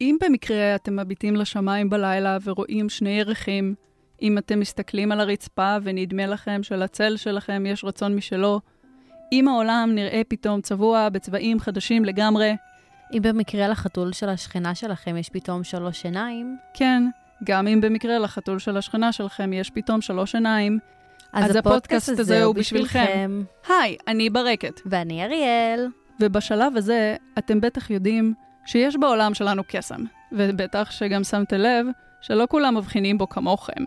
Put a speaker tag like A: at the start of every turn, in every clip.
A: אם במקרה אתם מביטים לשמיים בלילה ורואים שני ירחים, אם אתם מסתכלים על הרצפה ונדמה לכם שלצל שלכם יש רצון משלו, אם העולם נראה פתאום צבוע בצבעים חדשים לגמרי,
B: אם במקרה לחתול של השכנה שלכם יש פתאום שלוש עיניים,
A: כן, גם אם במקרה לחתול של השכנה שלכם יש פתאום שלוש עיניים,
B: אז,
A: אז הפודקאסט
B: הפודקאסט
A: הזה הוא בשבילכם. היי, אני ברקת.
B: ואני אריאל.
A: ובשלב הזה, אתם בטח יודעים שיש בעולם שלנו קסם, ובטח שגם שמתם לב שלא כולם מבחינים בו כמוכם.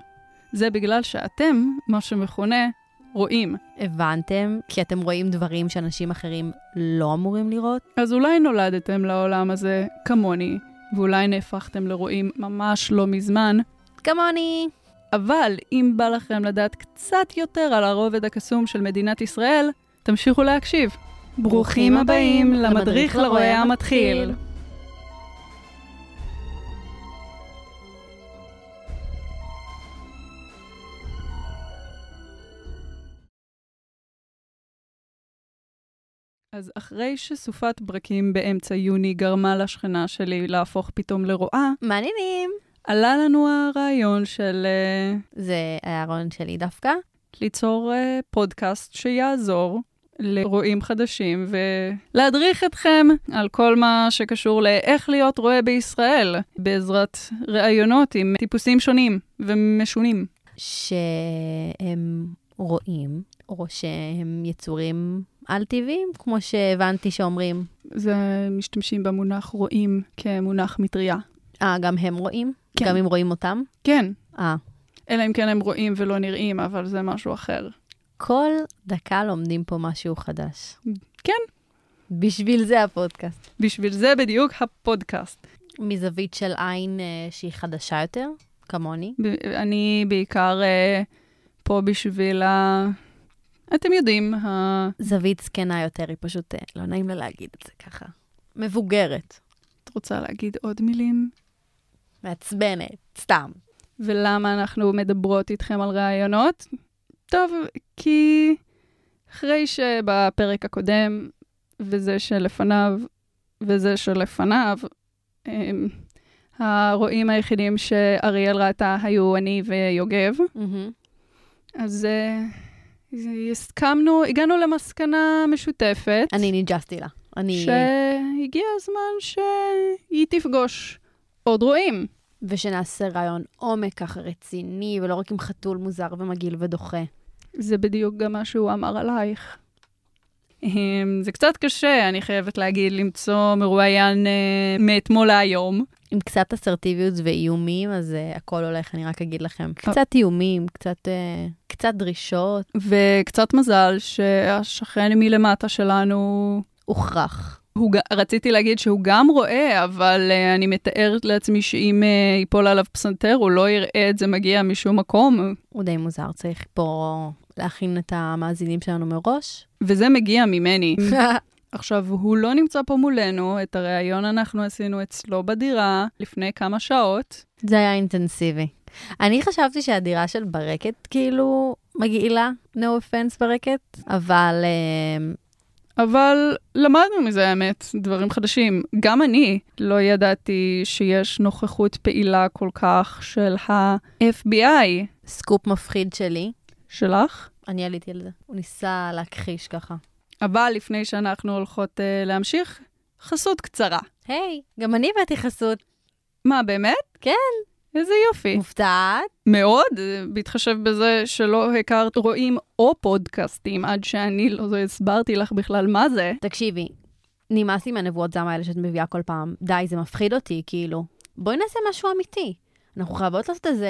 A: זה בגלל שאתם, מה שמכונה, רואים.
B: הבנתם? כי אתם רואים דברים שאנשים אחרים לא אמורים לראות?
A: אז אולי נולדתם לעולם הזה כמוני, ואולי נהפכתם לרואים ממש לא מזמן,
B: כמוני.
A: אבל אם בא לכם לדעת קצת יותר על הרובד הקסום של מדינת ישראל, תמשיכו להקשיב. ברוכים הבאים למדריך לרועה המתחיל. אז אחרי שסופת ברקים באמצע יוני גרמה לשכנה שלי להפוך פתאום לרועה,
B: מעניינים.
A: עלה לנו הרעיון של אה,
B: זה היה הרעיון שלי דווקא.
A: ליצור אה, פודקאסט שיעזור לרועים חדשים ולהדריך אתכם על כל מה שקשור לאיך להיות רועה בישראל, בעזרת ראיונות עם טיפוסים שונים ומשונים.
B: שהם רואים, או שהם יצורים על-טבעיים, כמו שהבנתי שאומרים.
A: זה משתמשים במונח רועים כמונח מטריה.
B: אה, גם הם רואים?
A: כן.
B: גם אם רואים אותם?
A: כן,
B: אה.
A: אלא אם כן הם רואים ולא נראים, אבל זה משהו אחר.
B: כל דקה לומדים פה משהו חדש.
A: כן.
B: בשביל זה הפודקאסט.
A: בשביל זה בדיוק הפודקאסט.
B: מזווית של עין אה, שהיא חדשה יותר, כמוני.
A: ב- אני בעיקר אה, פה בשביל ה... אתם יודעים, ה...
B: זווית זקנה יותר, היא פשוט, אה, לא נעים לה להגיד את זה ככה. מבוגרת,
A: את רוצה להגיד עוד מילים?
B: מעצבנת, סתם.
A: ולמה אנחנו מדברות איתכם על רעיונות? טוב, כי אחרי שבפרק הקודם, וזה שלפניו, וזה שלפניו, הם, הרועים היחידים שאריאל ראתה היו אני ויוגב, אז אה, הסכמנו, הגענו למסקנה משותפת.
B: אני ניג'סתי לה. אני...
A: שהגיע הזמן שהיא תפגוש עוד רועים.
B: ושנעשה רעיון עומק ככה רציני, ולא רק עם חתול מוזר ומגעיל ודוחה.
A: זה בדיוק גם מה שהוא אמר עלייך. אמ, זה קצת קשה, אני חייבת להגיד, למצוא מרואיין אה, מאתמול להיום.
B: עם קצת אסרטיביות ואיומים, אז uh, הכל הולך, אני רק אגיד לכם. קצת איומים, קצת, uh, קצת דרישות,
A: וקצת מזל שהשכן מלמטה שלנו,
B: הוכרח.
A: הוא, ג- רציתי להגיד שהוא גם רואה, אבל אה, אני מתארת לעצמי שאם אה, ייפול עליו פסנתר, הוא לא יראה את זה מגיע משום מקום.
B: הוא די מוזר, צריך פה להכין את המאזינים שלנו מראש.
A: וזה מגיע ממני. עכשיו, הוא לא נמצא פה מולנו, את הריאיון אנחנו עשינו אצלו בדירה לפני כמה שעות.
B: זה היה אינטנסיבי. אני חשבתי שהדירה של ברקת כאילו מגעילה, no offense ברקת, אבל uh,
A: אבל למדנו מזה, האמת, דברים חדשים. גם אני לא ידעתי שיש נוכחות פעילה כל כך של ה-FBI
B: סקופ מפחיד שלי,
A: שלך.
B: אני עליתי על זה. הוא ניסה להכחיש ככה.
A: אבל לפני שאנחנו הולכות uh, להמשיך, חסות קצרה.
B: היי, גם אני הבאתי חסות.
A: מה, באמת?
B: כן.
A: איזה יופי.
B: מופתעת?
A: מאוד, אה, בהתחשב בזה שלא הכרת רואים או פודקאסטים עד שאני לא הסברתי לך בכלל מה זה.
B: תקשיבי, נמאס לי מהנבואות זעם האלה שאת מביאה כל פעם. די, זה מפחיד אותי, כאילו. בואי נעשה משהו אמיתי. אנחנו חייבות לעשות איזה...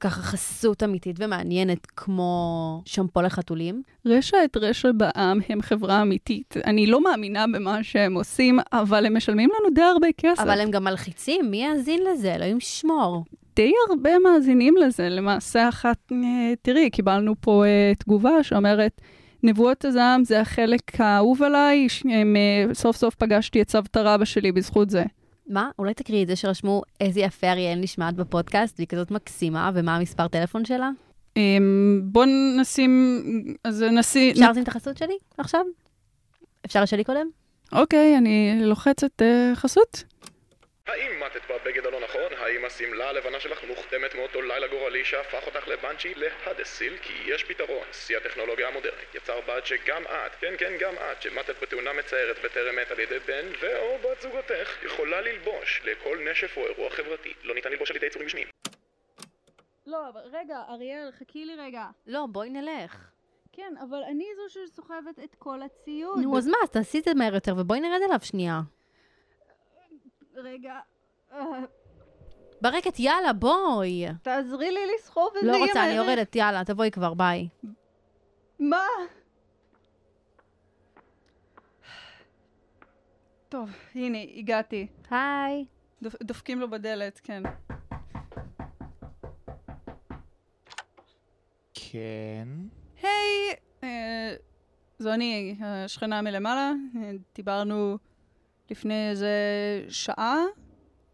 B: ככה חסות אמיתית ומעניינת, כמו שמפו לחתולים.
A: רשע את רשע בעם הם חברה אמיתית. אני לא מאמינה במה שהם עושים, אבל הם משלמים לנו די הרבה כסף.
B: אבל הם גם מלחיצים, מי יאזין לזה? אלוהים שמור.
A: די הרבה מאזינים לזה. למעשה אחת, אה, תראי, קיבלנו פה אה, תגובה שאומרת, נבואות הזעם זה החלק האהוב עליי, ש- הם, אה, סוף סוף פגשתי את סבתא רבא שלי בזכות זה.
B: מה? אולי תקריאי את זה שרשמו איזה יפה אריאל נשמעת בפודקאסט, והיא כזאת מקסימה, ומה המספר טלפון שלה?
A: אה, בואו נשים, אז נשים...
B: אפשר לשים את החסות שלי עכשיו? אפשר שלי קודם?
A: אוקיי, אני לוחצת אה, חסות.
C: את אצבעת בגד הלא נכון? האם השמלה הלבנה שלך מוכתמת מאותו לילה גורלי שהפך אותך לבנצ'י להדסיל? כי יש פתרון. שיא הטכנולוגיה המודרנית יצר בת שגם את, כן כן גם את, שמטת בתאונה מצערת וטרם מת על ידי בן ואו בת זוגתך, יכולה ללבוש לכל נשף או אירוע חברתי. לא ניתן ללבוש על ידי יצורים גשמיים.
A: לא, אבל רגע, אריאל, חכי לי רגע.
B: לא, בואי נלך.
A: כן, אבל אני זו שסוחבת את כל הציוד.
B: נו, אז מה, אז תעשי את זה מהר יותר, ובואי נרד עליו שנייה.
A: רגע, אה,
B: ברקת, יאללה, בואי.
A: תעזרי לי לסחוב את
B: לא
A: זה.
B: רוצה, אני
A: ימנה.
B: יורדת, יאללה, תבואי כבר, ביי.
A: מה? טוב, הנה, הגעתי.
B: היי.
A: דופ- דופקים לו בדלת, כן.
D: כן.
A: היי, אה, זו אני, השכנה מלמעלה. אה, דיברנו לפני איזה שעה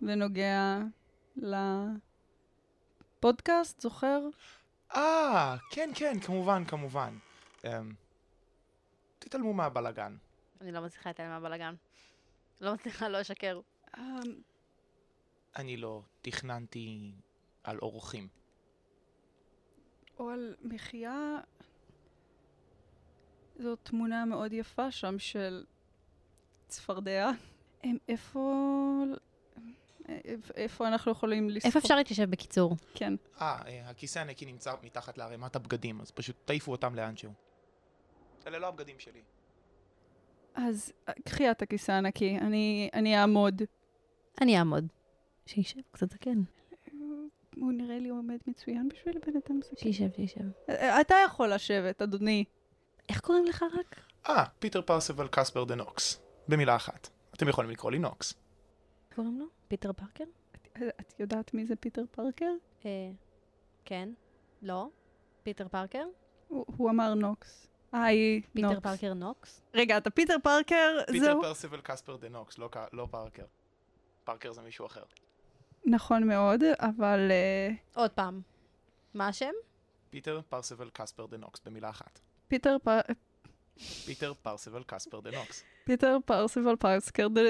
A: בנוגע לפודקאסט, זוכר?
D: אה, כן, כן, כמובן, כמובן. אמ, תתעלמו מהבלגן.
B: אני לא מצליחה להתעלם מהבלאגן. לא מצליחה לא לשקר.
A: אה,
D: אני לא תכננתי על אורחים.
A: או על מחיה... זו תמונה מאוד יפה שם של צפרדע. הם איפה... איפ- איפה אנחנו יכולים לספור?
B: איפה אפשר להתיישב בקיצור?
A: כן.
D: אה, אה, הכיסא הנקי נמצא מתחת לערימת הבגדים, אז פשוט תעיפו אותם לאנשהו. אלה לא הבגדים שלי.
A: אז אה, קחי את הכיסא הנקי, אני, אני אעמוד.
B: אני אעמוד. שישב קצת זקן.
A: הוא נראה לי עומד מצוין בשביל בן אדם זקן.
B: שישב, שישב.
A: אה, אתה יכול לשבת, אדוני.
B: איך קוראים לך רק?
D: אה, פיטר פרסבל קספר דה נוקס. במילה אחת. אתם יכולים לקרוא לי נוקס.
B: קוראים לו? פיטר פארקר?
A: אה, את יודעת מי זה פיטר פארקר?
B: אה... כן. לא. פיטר פארקר?
A: הוא, הוא אמר נוקס. היי, נוקס.
B: פיטר פארקר נוקס?
A: רגע, אתה פיטר פארקר?
D: פיטר
A: זהו.
D: פרסבל קספר דה נוקס, לא ק- לא פארקר. פארקר זה מישהו אחר.
A: נכון מאוד, אבל... אה,
B: עוד פעם. מה השם?
D: פיטר פרסבל קספר דה נוקס, במילה אחת.
A: פיטר פ...
D: פיטר פרסבל קספר דה נוקס.
A: פיטר פרסיבל פרסקר דה...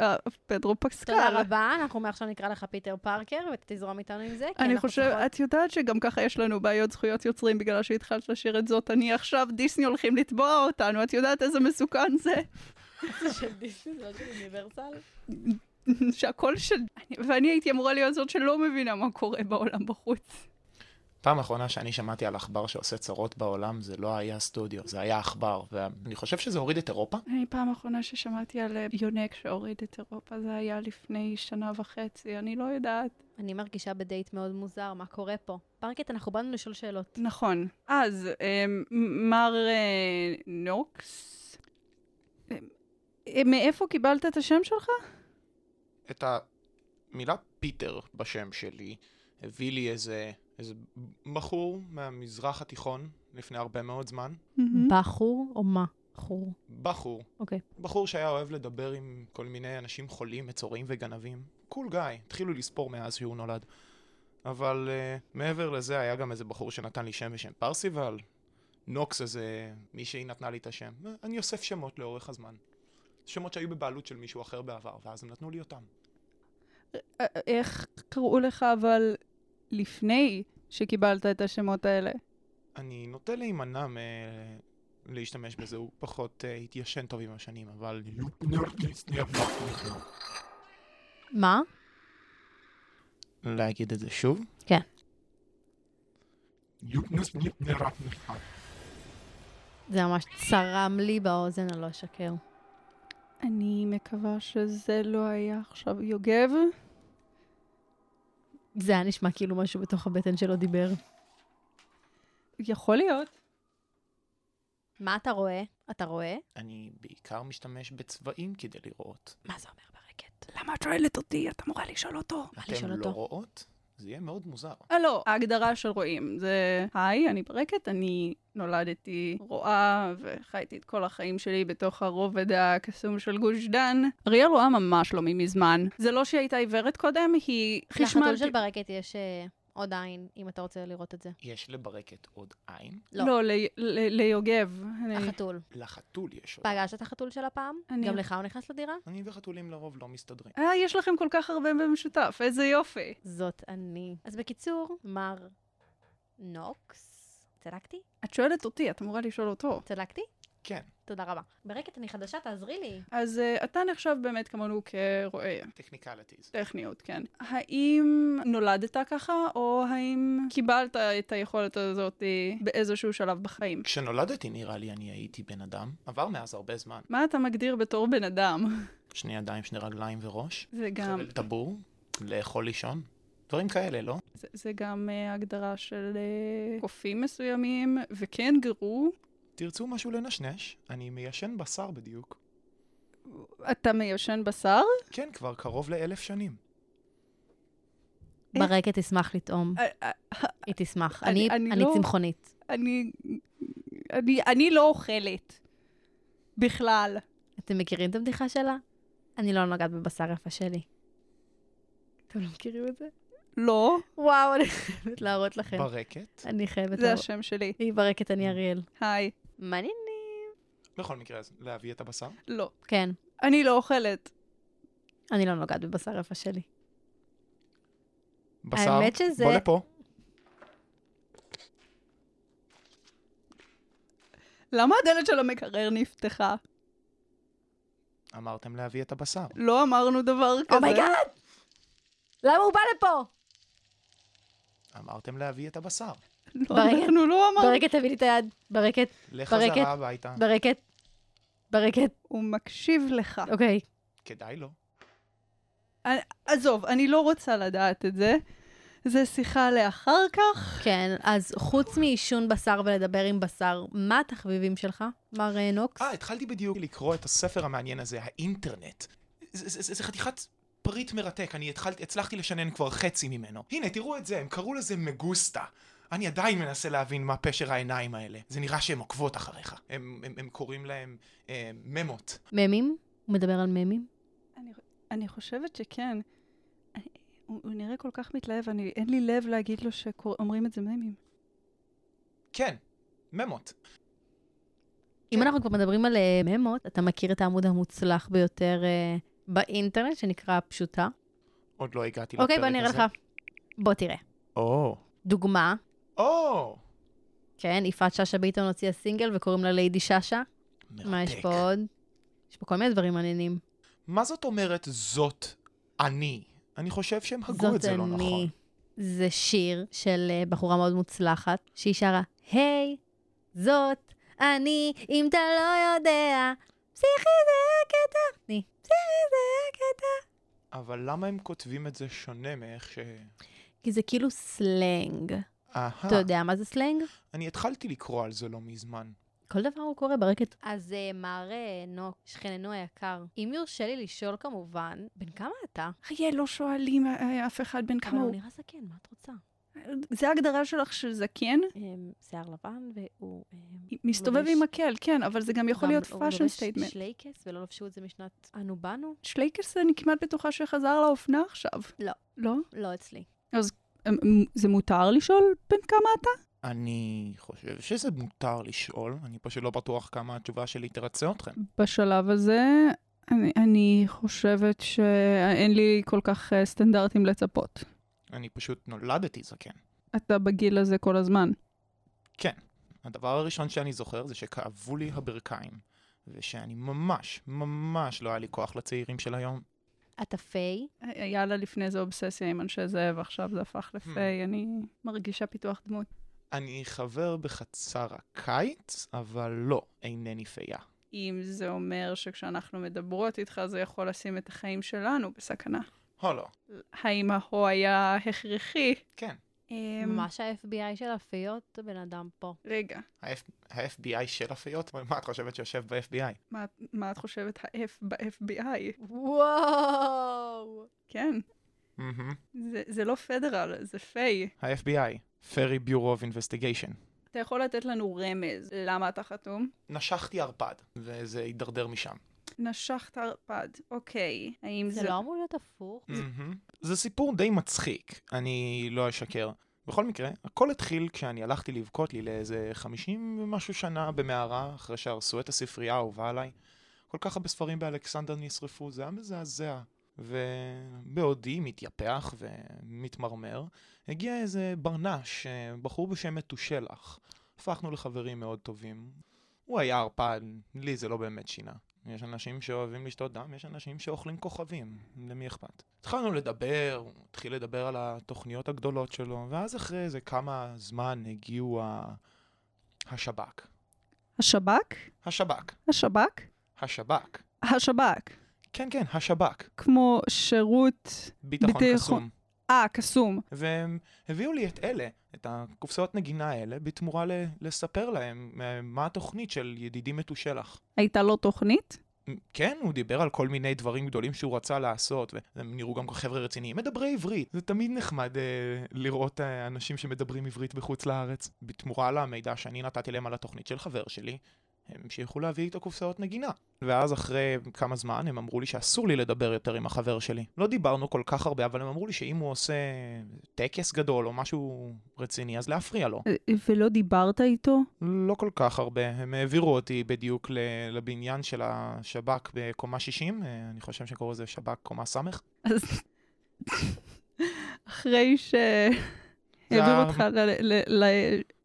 A: אה, פדרו פסקל.
B: תודה רבה, אנחנו מעכשיו נקרא לך פיטר פארקר, ותזרום איתנו עם זה. כי
A: אני
B: אנחנו
A: חושב,
B: צריכות-
A: את יודעת שגם ככה יש לנו בעיות זכויות יוצרים בגלל שהתחלת לשיר את זאת, אני עכשיו, דיסני הולכים לתבוע אותנו, את יודעת איזה מסוכן זה?
B: זה של דיסני, זה לא של אוניברסל?
A: שהקול של... אני- ואני הייתי אמורה להיות זאת שלא מבינה מה קורה בעולם בחוץ.
D: פעם אחרונה שאני שמעתי על עכבר שעושה צרות בעולם, זה לא היה סטודיו, זה היה עכבר, ואני חושב שזה הוריד את אירופה.
A: אני פעם אחרונה ששמעתי על אה, יונק שהוריד את אירופה, זה היה לפני שנה וחצי, אני לא יודעת.
B: אני מרגישה בדייט מאוד מוזר, מה קורה פה? פרקט, אנחנו באנו לשאול שאלות.
A: נכון. אז אה, מ- מר אה, נוקס, אה, אה, מאיפה קיבלת את השם שלך?
D: את המילה פיטר בשם שלי הביא לי איזה, איזה בחור מהמזרח התיכון לפני הרבה מאוד זמן.
A: Mm-hmm.
B: בחור או מה? חור.
D: בחור.
B: אוקיי.
D: בחור שהיה אוהב לדבר עם כל מיני אנשים חולים, מצורעים וגנבים. קול גיא, התחילו לספור מאז שהוא נולד. אבל uh, מעבר לזה היה גם איזה בחור שנתן לי שם בשם פרסיבל. נוקס איזה מי שהיא נתנה לי את השם. אה, אני אוסף שמות לאורך הזמן. שמות שהיו בבעלות של מישהו אחר בעבר, ואז הם נתנו לי אותם.
A: אה, איך קראו לך אבל לפני שקיבלת את השמות האלה?
D: אני נוטה להימנע מ... להשתמש בזה, הוא פחות uh, התיישן טוב עם השנים, אבל...
B: מה?
D: להגיד את זה שוב?
B: כן. זה ממש צרם לי באוזן, אני לא אשקר.
A: אני מקווה שזה לא היה עכשיו יוגב.
B: זה היה נשמע כאילו משהו בתוך הבטן שלו דיבר.
A: יכול להיות.
B: מה אתה רואה? אתה רואה?
D: אני בעיקר משתמש בצבעים כדי לראות.
B: מה זה אומר ברקת?
A: למה את שואלת אותי? את אמורה לשאול אותו.
D: אתם
B: לשאול
D: לא
B: אותו?
D: רואות? זה יהיה מאוד מוזר.
A: אה, לא, ההגדרה של רואים זה, היי, אני ברקת, אני נולדתי רואה וחייתי את כל החיים שלי בתוך הרובד הקסום של גוש דן. אריאל רואה ממש לא ממזמן. זה לא שהיא הייתה עיוורת קודם, היא חישמה...
B: לחתול של ברקת יש אה, עוד עין, אם אתה רוצה לראות את זה.
D: יש לברקת עוד עין?
B: לא.
A: לא, ל- ל- ליוגב.
B: החתול.
D: לחתול יש עוד.
B: פגשת את החתול של הפעם?
A: אני-
B: גם לך הוא נכנס לדירה?
D: אני וחתולים לרוב לא מסתדרים.
A: אה, יש לכם כל כך הרבה במשותף, איזה יופי.
B: זאת אני. אז בקיצור, מר נוקס, צדקתי?
A: את שואלת אותי, את אמורה לשאול אותו.
B: צדקתי?
D: כן,
B: תודה רבה. ברקת, אני חדשה, תעזרי לי.
A: אז אה, אתה נחשב באמת כמונו כרועה.
D: טכניקליטיז.
A: טכניות, כן. האם נולדת ככה, או האם קיבלת את היכולת הזאת אה, באיזשהו שלב בחיים?
D: כשנולדתי נראה לי אני הייתי בן אדם, עבר מאז הרבה זמן.
A: מה אתה מגדיר בתור בן אדם?
D: שני ידיים, שני רגליים וראש.
A: זה גם,
D: חבל טבור, לאכול לישון. דברים כאלה, לא?
A: זה, זה גם אה, הגדרה של אה, קופים מסוימים, וקנגרו.
D: תרצו משהו לנשנש, אני מיישן בשר בדיוק.
A: אתה מיושן בשר?
D: כן, כבר קרוב לאלף שנים.
A: אה?
B: ברקת תשמח לטעום.
A: אה, אה,
B: היא תשמח.
A: אני-
B: אני
A: אני
B: אני
A: לא-
B: צמחונית.
A: אני, אני, אני לא אוכלת. בכלל.
B: אתם מכירים את הבדיחה שלה? אני לא נוגעת בבשר יפה שלי. אתם לא מכירים את זה?
A: לא,
B: וואו, אני חייבת להראות לכם.
D: ברקת.
B: אני חייבת
A: זה
B: להראות.
A: השם שלי.
B: היא ברקת, אני אריאל.
A: היי.
B: מעניין.
D: בכל מקרה, אז להביא את הבשר?
A: לא.
B: כן,
A: אני לא אוכלת.
B: אני לא נוגעת בבשר יפה שלי.
D: בשר?
B: האמת שזה-
D: בוא לפה.
A: למה הדלת של המקרר נפתחה?
D: אמרתם להביא את הבשר.
A: לא אמרנו דבר כזה.
B: אומייגאד! למה הוא בא לפה?
D: אמרתם להביא את הבשר.
A: לא,
B: ברקת.
A: אנחנו לא אמרנו.
B: ברקת, תביא לי את היד. ברקת, ברקת,
D: לחזרה הביתה.
B: ברקת, ברקת.
A: הוא מקשיב לך.
B: אוקיי.
D: כדאי לו.
A: עזוב, אני לא רוצה לדעת את זה. זה שיחה לאחר כך.
B: כן, אז חוץ מעישון בשר ולדבר עם בשר, מה התחביבים שלך, מר אה, נוקס?
D: אה, התחלתי בדיוק לקרוא את הספר המעניין הזה, האינטרנט. זה- זה זה- זה חתיכת פריט מרתק, אני התחלתי, הצלחתי לשנן כבר חצי ממנו. הנה, תראו את זה, הם קראו לזה מגוסטה. אני עדיין מנסה להבין מה פשר העיניים האלה. זה נראה שהן עוקבות אחריך. הם, הם, הם קוראים להם אה, ממות.
B: ממים? הוא מדבר על ממים?
D: כן.
A: אני, אני חושבת שכן. אני, הוא, הוא נראה כל כך מתלהב, אני, אין לי לב להגיד לו שאומרים את זה ממים.
D: כן, ממות.
B: אם אנחנו כבר מדברים על אה, ממות, אתה מכיר את העמוד המוצלח ביותר אה, באינטרנט, שנקרא פשוטה?
D: עוד לא הגעתי לפרק
B: אוקיי,
D: הזה.
B: בוא נראה לך. בוא תראה.
D: או.
B: דוגמה,
D: או!
B: כן, יפעת שאשא ביטון הוציאה סינגל וקוראים לה ליידי שאשא.
D: מרתק.
B: מה יש פה עוד? יש פה כל מיני דברים מעניינים.
D: מה זאת אומרת זאת אני? אני חושב שהם הגו את
B: זאת
D: זה לא
B: אני.
D: נכון.
B: זה שיר של אה, בחורה מאוד מוצלחת, שהיא שרה, היי, זאת אני, אם אתה לא יודע, פסיכי זה הקטע. אני, פסיכי זה הקטע.
D: אבל למה הם כותבים את זה שונה מאיך ש...
B: כי זה כאילו סלנג.
A: אה.
D: אהה.
B: אתה יודע מה זה סלנג?
D: אני התחלתי לקרוא על זה לא מזמן.
B: כל דבר הוא קורה ברקת. אז אה, מר אה, נוק, שכננו היקר, אם יורשה לי לשאול כמובן, בן כמה אתה?
A: חיי, לא שואלים אה, אף אחד בן
B: אבל
A: כמה
B: הוא
A: הוא.
B: נראה זקן, מה את רוצה?
A: זה ההגדרה שלך של זקן?
B: אמ, שיער לבן, והוא... אמ,
A: מסתובב
B: לובש-
A: עם מקל, כן, אבל זה גם יכול
B: גם-
A: להיות
B: הוא לובש
A: fashion statement.
B: שלייקס, ולא לבשו את זה משנת אנו באנו?
A: שלייקס, אני כמעט בטוחה שחזר לאופנה עכשיו.
B: לא.
A: לא?
B: לא אצלי.
A: אמ, אמ, זה מותר לשאול בן כמה אתה?
D: אני חושב שזה מותר לשאול, אני פשוט לא בטוח כמה התשובה שלי תרצה אתכם.
A: בשלב הזה, אני, אני חושבת שאין לי כל כך אה, סטנדרטים לצפות.
D: אני פשוט נולדתי זקן.
A: אתה בגיל הזה כל הזמן.
D: הדבר הראשון שאני זוכר זה שכאבו לי הברכיים, ושאני ממש, ממש לא היה לי כוח לצעירים של היום.
B: אתה פיי?
A: היה לה לפני זה אובססיה עם אנשי זאב, עכשיו זה הפך לפיי, אני מרגישה פיתוח דמות.
D: אני חבר בחצר הקיץ, אבל לא, אינני פייה.
A: אם זה אומר שכשאנחנו מדברות איתך, זה יכול לשים את החיים שלנו בסכנה.
D: או לא.
A: האם ההוא היה הכרחי?
D: כן.
A: אמ,
B: ממש ה-FBI של הפיות, הבן אדם פה.
A: רגע,
D: ה-FBI של הפיות? מה את חושבת שיושב ב-FBI?
A: מה, מה את חושבת ה-F ב-FBI?
B: וואו!
A: כן, זה, זה לא פדרל, זה פיי.
D: ה-FBI, Ferry Bureau of Investigation.
A: אתה יכול לתת לנו רמז למה אתה חתום?
D: נשכתי ערפד, וזה הידרדר משם.
A: נשך תרפד, אוקיי. האם זה...
B: זה לא אמור להיות הפוך?
D: מהמם. זה סיפור די מצחיק, אני לא אשקר. בכל מקרה, הכל התחיל כשאני הלכתי לבכות לי לאיזה 50 ומשהו שנה במערה, אחרי שהרסו את הספרייה האהובה עליי. כל כך הרבה ספרים באלכסנדר נשרפו, זה היה מזעזע. ובעודי מתייפח ומתמרמר, הגיע איזה ברנש, אה, בחור בשם מתושלח. הפכנו לחברים מאוד טובים. הוא היה ערפד, לי זה לא באמת שינה. יש אנשים שאוהבים לשתות דם, יש אנשים שאוכלים כוכבים, למי אכפת? התחלנו לדבר, הוא התחיל לדבר על התוכניות הגדולות שלו, ואז אחרי איזה כמה זמן הגיעו ה... השב"כ.
A: השב"כ?
D: השב"כ.
A: השב"כ?
D: השב"כ.
A: השב"כ.
D: כן, כן, השב"כ.
A: כמו שירות...
D: ביטחון
A: ביטחון.
D: קסום.
A: אה, קסום.
D: והם הביאו לי את אלה, את הקופסאות נגינה האלה, בתמורה ל- לספר להם אה, מה התוכנית של ידידי מתושלח.
A: הייתה לו תוכנית?
D: כן, הוא דיבר על כל מיני דברים גדולים שהוא רצה לעשות, והם נראו גם כחבר'ה רציניים, מדברי עברית. זה תמיד נחמד אה, לראות אה, אנשים שמדברים עברית בחוץ לארץ. בתמורה למידע שאני נתתי להם על התוכנית של חבר שלי, הם המשיכו להביא את הקופסאות נגינה. ואז אחרי כמה זמן הם אמרו לי שאסור לי לדבר יותר עם החבר שלי. לא דיברנו כל כך הרבה, אבל הם אמרו לי שאם הוא עושה טקס גדול או משהו רציני, אז להפריע לו.
A: ולא דיברת איתו?
D: לא כל כך הרבה. הם העבירו אותי בדיוק ל- לבניין של השב"כ בקומה 60, אה, אני חושב שקוראים לזה שב"כ קומה ס'.
A: אז אחרי שהעבירו
D: זה ה-
A: אותך ל- ל-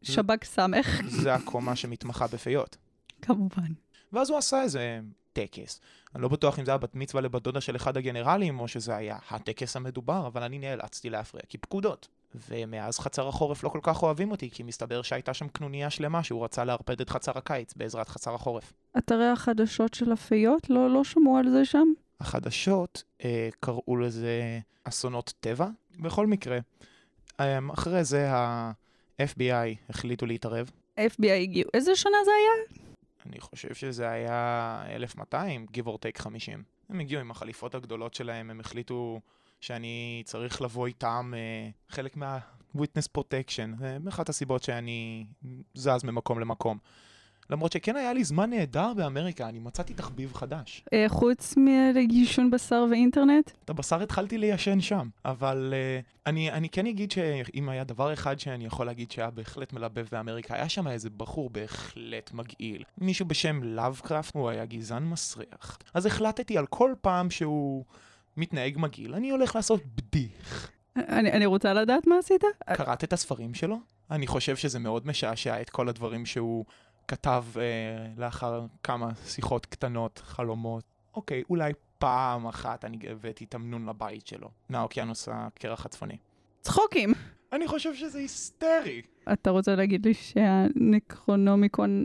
A: לשב"כ סמך,
D: זה הקומה שמתמחה בפיות.
A: כמובן.
D: ואז הוא עשה איזה טקס. אני לא בטוח אם זה היה בת מצווה לבת דודה של אחד הגנרלים, או שזה היה הטקס המדובר, אבל אני נאלצתי להפריע, כי פקודות. ומאז חצר החורף לא כל כך אוהבים אותי, כי מסתבר שהייתה שם קנוניה שלמה שהוא רצה לערפד את חצר הקיץ בעזרת חצר החורף.
A: אתרי החדשות של הפיות, לא, לא שמעו על זה שם?
D: החדשות אה, קראו לזה אסונות טבע. בכל מקרה, אה, אחרי זה ה-FBI החליטו להתערב.
A: FBI הגיעו. איזה שנה זה היה?
D: אני חושב שזה היה 1200, give or take 50. הם הגיעו עם החליפות הגדולות שלהם, הם החליטו שאני צריך לבוא איתם אה, חלק מה-witness protection. זה אחת הסיבות שאני זז ממקום למקום. למרות שכן היה לי זמן נהדר באמריקה, אני מצאתי תחביב חדש.
A: אה, חוץ מעישון בשר ואינטרנט?
D: את הבשר התחלתי ליישן שם. אבל uh, אני, אני כן אגיד שאם היה דבר אחד שאני יכול להגיד שהיה בהחלט מלבב באמריקה, היה שם איזה בחור בהחלט מגעיל. מישהו בשם לאבקראפט, הוא היה גזען מסריח. אז החלטתי על כל פעם שהוא מתנהג מגעיל, אני הולך לעשות בדיח.
A: אני, אני רוצה לדעת מה עשית?
D: קראת את הספרים שלו? אני חושב שזה מאוד משעשע את כל הדברים שהוא כתב אה, לאחר כמה שיחות קטנות, חלומות. אוקיי, אולי פעם אחת אני הבאתי תמנון לבית שלו, מהאוקיינוס הקרח הצפוני.
A: צחוקים!
D: אני חושב שזה היסטרי.
A: אתה רוצה להגיד לי שהנקרונומיקון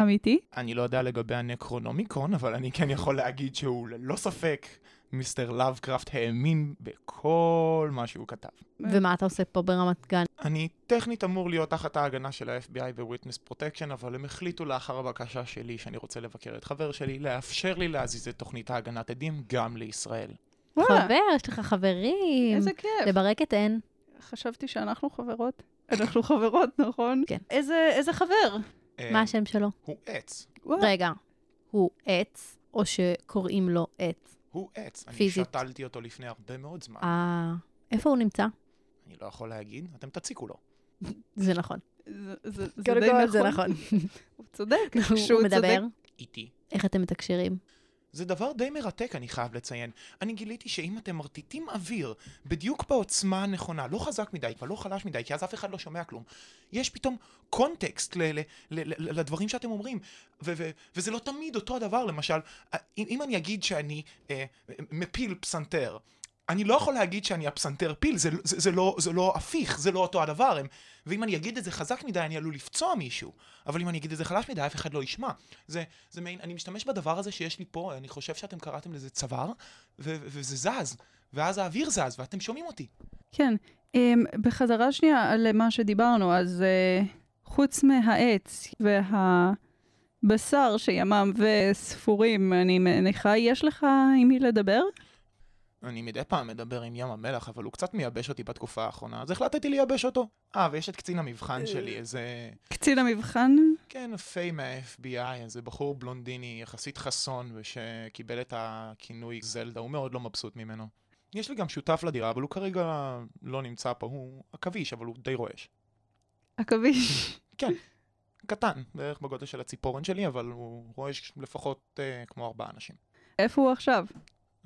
A: אמיתי?
D: אני לא יודע לגבי הנקרונומיקון, אבל אני כן יכול להגיד שהוא ללא ספק, מיסטר לאבקראפט האמין בכל מה שהוא כתב.
B: ומה אתה עושה פה ברמת גן?
D: אני טכנית אמור להיות תחת ההגנה של ה-FBI ב-Witness Protection, אבל הם החליטו לאחר הבקשה שלי, שאני רוצה לבקר את חבר שלי, לאפשר לי להזיז את תוכנית ההגנת עדים גם לישראל.
A: וואלה,
B: חבר, יש לך חברים.
A: אה. איזה כיף.
B: לברקת אין.
A: חשבתי שאנחנו חברות. אנחנו חברות, נכון?
B: כן.
A: איזה, איזה חבר?
D: אה,
B: מה השם שלו?
D: הוא עץ.
A: וואו.
B: רגע, הוא עץ, או שקוראים לו עץ?
D: הוא עץ. אני
B: פיזית.
D: שתלתי אותו לפני הרבה מאוד זמן.
B: אה, איפה הוא נמצא?
D: אני לא יכול להגיד, אתם תציקו לו.
B: זה נכון.
A: זה, זה, זה די נכון.
B: זה נכון.
A: הוא צודק.
B: הוא מדבר.
D: איתי.
B: איך אתם מתקשרים?
D: זה דבר די מרתק, אני חייב לציין. אני גיליתי שאם אתם מרטיטים אוויר בדיוק בעוצמה הנכונה, לא חזק מדי ולא חלש מדי, כי אז אף אחד לא שומע כלום, יש פתאום קונטקסט ל- ל- ל- ל- לדברים שאתם אומרים, ו- ו- וזה לא תמיד אותו הדבר. למשל, אם, אם אני אגיד שאני אה, מפיל פסנתר, אני לא יכול להגיד שאני הפסנתר פיל, זה, זה, זה, לא, זה לא הפיך, זה לא אותו הדבר. הם, ואם אני אגיד את זה חזק מדי, אני עלול לפצוע מישהו. אבל אם אני אגיד את זה חלש מדי, אף אחד לא ישמע. זה, זה מעין, אני משתמש בדבר הזה שיש לי פה, אני חושב שאתם קראתם לזה צוואר, ו- וזה זז, ואז האוויר זז, ואתם שומעים אותי.
A: כן. Um, בחזרה שנייה למה שדיברנו, אז uh, חוץ מהעץ והבשר שימם וספורים, אני מניחה, יש לך עם מי לדבר?
D: אני מדי פעם מדבר עם ים המלח, אבל הוא קצת מייבש אותי בתקופה האחרונה, אז החלטתי לייבש אותו. אה, ויש את קצין המבחן שלי, איזה...
A: קצין המבחן?
D: כן, פיי מה-FBI, איזה בחור בלונדיני יחסית חסון, שקיבל את הכינוי זלדה, הוא מאוד לא מבסוט ממנו. יש לי גם שותף לדירה, אבל הוא כרגע לא נמצא פה, הוא עכביש, אבל הוא די רועש.
A: עכביש.
D: כן, קטן, בערך בגודל של הציפורן שלי, אבל הוא רועש לפחות אה, כמו ארבעה אנשים.
A: איפה הוא עכשיו?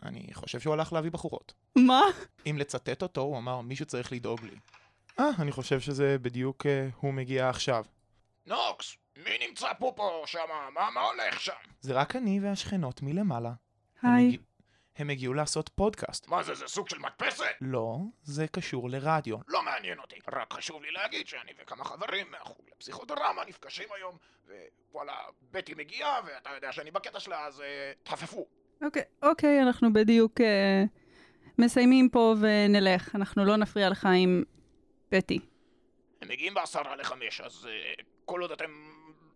D: אני חושב שהוא הלך להביא בחורות.
A: מה?
D: אם לצטט אותו, הוא אמר, מישהו צריך לדאוג לי. אה, אני חושב שזה בדיוק אה, הוא מגיע עכשיו.
C: נוקס, מי נמצא פה פה שמה? מה, מה הולך שם?
D: זה רק אני והשכנות מלמעלה. הם
A: היי.
D: הגיע- הם הגיעו לעשות פודקאסט.
C: מה זה, זה סוג של מדפסת?
D: לא, זה קשור לרדיו.
C: לא מעניין אותי. רק חשוב לי להגיד שאני וכמה חברים מהחוג לפסיכודרמה נפגשים היום, ווואלה, בטי מגיעה, ואתה יודע שאני בקטע שלה, אז אה, תחפפו.
A: אוקיי, אוקיי, אנחנו בדיוק אה, מסיימים פה ונלך. אנחנו לא נפריע לך עם בטי.
C: הם מגיעים בעשרה לחמש, אז אה, כל עוד אתם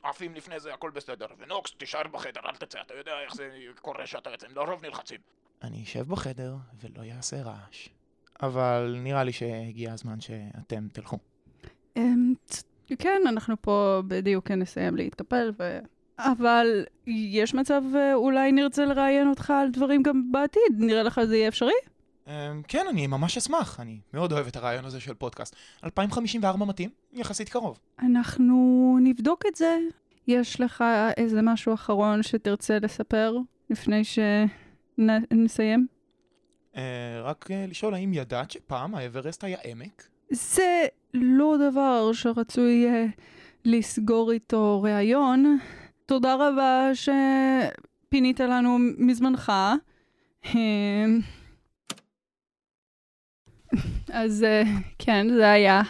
C: עפים לפני זה, הכל בסדר. ונוקס, תישאר בחדר, אל תצא, אתה יודע איך זה קורה שאתה יוצא, הם לרוב נלחצים.
D: אני אשב בחדר ולא יעשה רעש. אבל נראה לי שהגיע הזמן שאתם תלכו.
A: אמ, צ- כן, אנחנו פה בדיוק נסיים להתקפל, ו... אבל יש מצב אה, אולי נרצה לראיין אותך על דברים גם בעתיד, נראה לך זה יהיה אפשרי?
D: אמ, כן, אני ממש אשמח, אני מאוד אוהב את הרעיון הזה של פודקאסט. 2054 מתאים? יחסית קרוב.
A: אנחנו נבדוק את זה. יש לך איזה משהו אחרון שתרצה לספר לפני שנסיים?
D: אה, רק אה, לשאול, האם ידעת שפעם האברסט היה עמק?
A: זה לא דבר שרצוי אה, לסגור איתו ראיון. תודה רבה שפינית לנו מזמנך. אמ, אז אה, כן, זה היה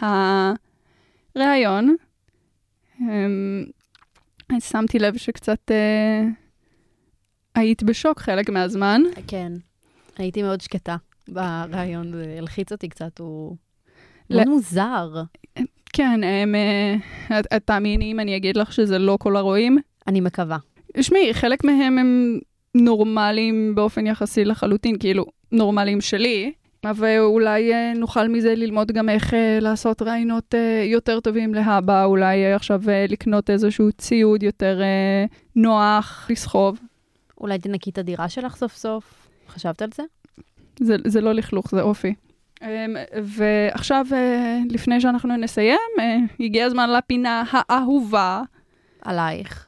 A: הראיון. אמ, אז שמתי לב שקצת אה, היית בשוק חלק מהזמן.
B: כן. הייתי מאוד שקטה ברעיון, זה הלחיץ אותי קצת, הוא
A: ל-
B: מאוד מוזר.
A: כן, הם, אה, את- את תאמיני אם אני אגיד לך שזה לא כל הרואים?
B: אני מקווה.
A: שמעי, חלק מהם הם נורמליים באופן יחסי לחלוטין, כאילו, נורמליים שלי, ואולי אה, נוכל מזה ללמוד גם איך אה, לעשות רעיונות אה, יותר טובים להבא, אולי אה, עכשיו אה, לקנות איזשהו ציוד יותר אה, נוח לסחוב.
B: אולי תנקי את הדירה שלך סוף סוף? חשבת על זה?
A: זה, זה לא לכלוך, זה אופי. אמ, ועכשיו, אה, לפני שאנחנו נסיים, אה, הגיע הזמן לפינה האהובה,
B: עלייך.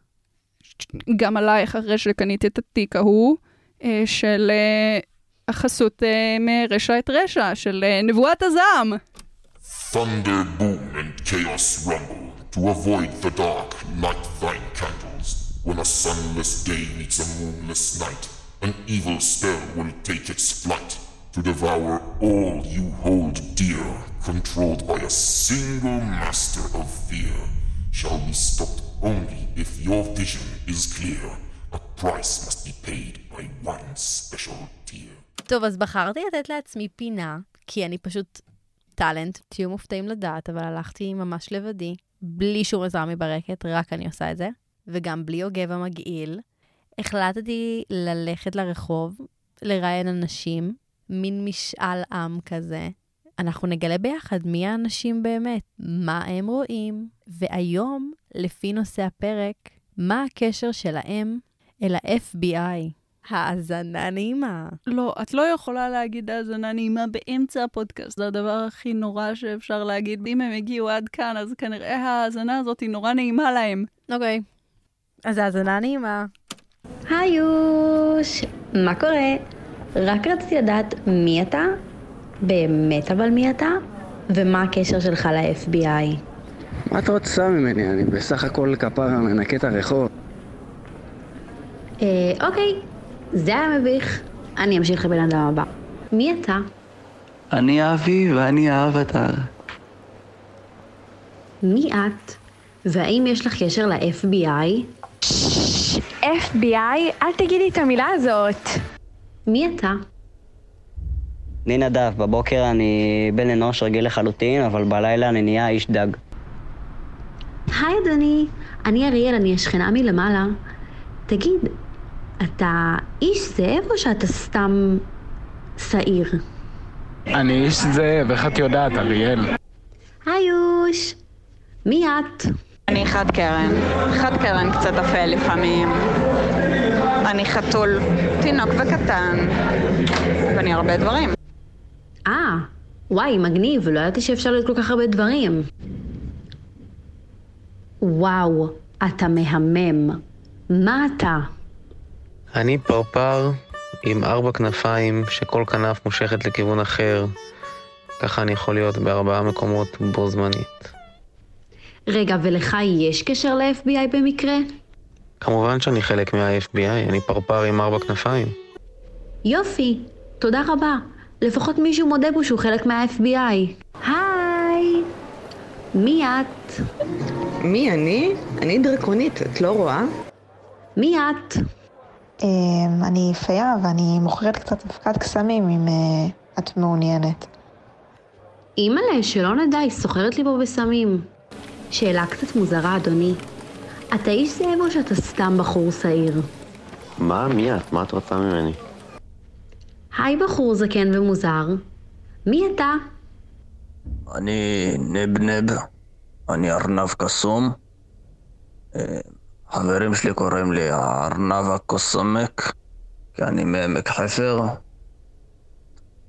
A: גם עלייך אחרי שקניתי את התיק ההוא, אה, של אה, החסות אה, מרשע את רשע, של אה, נבואת הזעם.
E: Thunder boom and chaos rumble to avoid the dark. Light thine candles. When a sunless day meets a moonless night, an evil spell will take its flight to devour all you hold dear. Controlled by a single master of fear, shall be stopped only if your vision is clear. A price must be paid by one special tear.
B: טוב, אז בחרתי לתת לעצמי פינה, כי אני פשוט טאלנט, תהיו מופתעים לדעת, אבל הלכתי ממש לבדי, בלי שום עזרה מברקת, רק אני עושה את זה, וגם בלי יוגב המגעיל. החלטתי ללכת לרחוב, לראיין אנשים, מין משאל עם כזה. אנחנו נגלה ביחד מי האנשים באמת, מה הם רואים, והיום, לפי נושא הפרק, מה הקשר שלהם אל ה-FBI. האזנה נעימה.
A: לא, את לא יכולה להגיד האזנה נעימה באמצע הפודקאסט, זה הדבר הכי נורא שאפשר להגיד. אם הם הגיעו עד כאן, אז כנראה ההאזנה הזאת היא נורא נעימה להם.
B: אוקיי. אז האזנה נעימה.
F: היוש, מה קורה? רק רציתי לדעת מי אתה, באמת אבל מי אתה, ומה הקשר שלך ל-FBI.
G: מה את רוצה ממני? אני בסך הכל כפרה מנקה את הרחוב.
F: אה, אוקיי, זה היה מביך, אני אמשיך לבן אדם הבא. מי אתה?
H: אני אבי ואני האבטר.
F: מי את? והאם יש לך קשר ל-FBI?
I: FBI, אל תגידי את המילה הזאת.
F: מי אתה?
J: אני נדב, בבוקר אני בן אנוש רגיל לחלוטין, אבל בלילה אני נהיה איש דג.
F: היי אדוני, אני אריאל, אני השכנה מלמעלה. תגיד, אתה איש זאב או שאתה סתם שעיר?
K: אני איש זאב, איך את יודעת, אריאל?
F: היוש, מי את?
K: אני חד קרן. חד קרן קצת אפל לפעמים. אני חתול, תינוק וקטן, ואני הרבה דברים.
F: אה, וואי, מגניב, לא ידעתי שאפשר להיות כל כך הרבה דברים. וואו, אתה מהמם. מה אתה?
L: אני פרפר עם ארבע כנפיים שכל כנף מושכת לכיוון אחר. ככה אני יכול להיות בארבעה מקומות בו זמנית.
F: רגע, ולך יש קשר ל-FBI במקרה?
L: כמובן שאני חלק מה-FBI, אני פרפר עם ארבע כנפיים.
F: יופי, תודה רבה. לפחות מישהו מודה בו שהוא חלק מה-FBI. היי, מי את?
M: מי אני? אני דרקונית, את לא רואה?
F: מי את?
N: אמ, אני פיה ואני מוכרת קצת אבקת קסמים אם אה, את מעוניינת.
F: אימא'לה, שלא נדע, היא סוחרת לי פה בסמים. שאלה קצת מוזרה, אדוני. אתה איש זאב או שאתה סתם בחור שעיר?
O: מה? מי את? מה את רוצה ממני?
F: היי, בחור זקן ומוזר. מי אתה?
P: אני נבנב, אני ארנב קסום. אה, חברים שלי קוראים לי הארנב הקוסמק, כי אני מעמק חפר.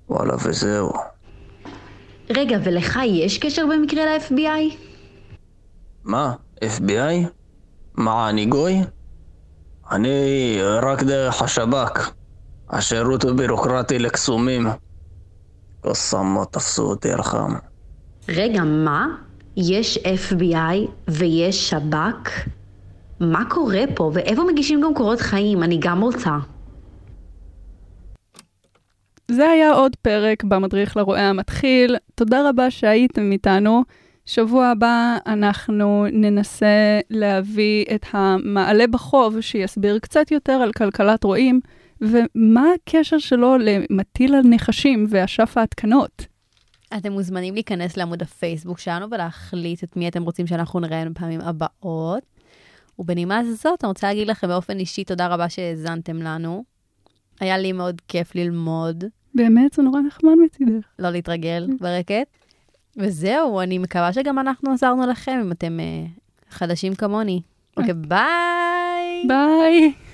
P: וואלה, וזהו.
F: רגע, ולך יש קשר במקרה ל-FBI?
P: מה? FBI? מה, אני גוי? אני רק דרך השב"כ. השירות הבירוקרטי לקסומים. קוסמו תפסו אותי רחם.
F: רגע, מה? יש FBI ויש שב"כ? מה קורה פה? ואיפה מגישים גם קורות חיים? אני גם רוצה.
A: זה היה עוד פרק במדריך לרועה המתחיל. תודה רבה שהייתם איתנו. שבוע הבא אנחנו ננסה להביא את המעלה בחוב שיסביר קצת יותר על כלכלת רועים ומה הקשר שלו למטיל על נחשים ואשף ההתקנות.
B: אתם מוזמנים להיכנס לעמוד הפייסבוק שלנו ולהחליט את מי אתם רוצים שאנחנו נראה בפעמים הבאות. ובנימה זאת, אני רוצה להגיד לכם באופן אישי תודה רבה שהאזנתם לנו. היה לי מאוד כיף ללמוד,
A: באמת, זה נורא נחמד מצידך.
B: לא להתרגל ברקת. וזהו, אני מקווה שגם אנחנו עזרנו לכם אם אתם אה, חדשים כמוני. אוקיי, ביי!
A: ביי!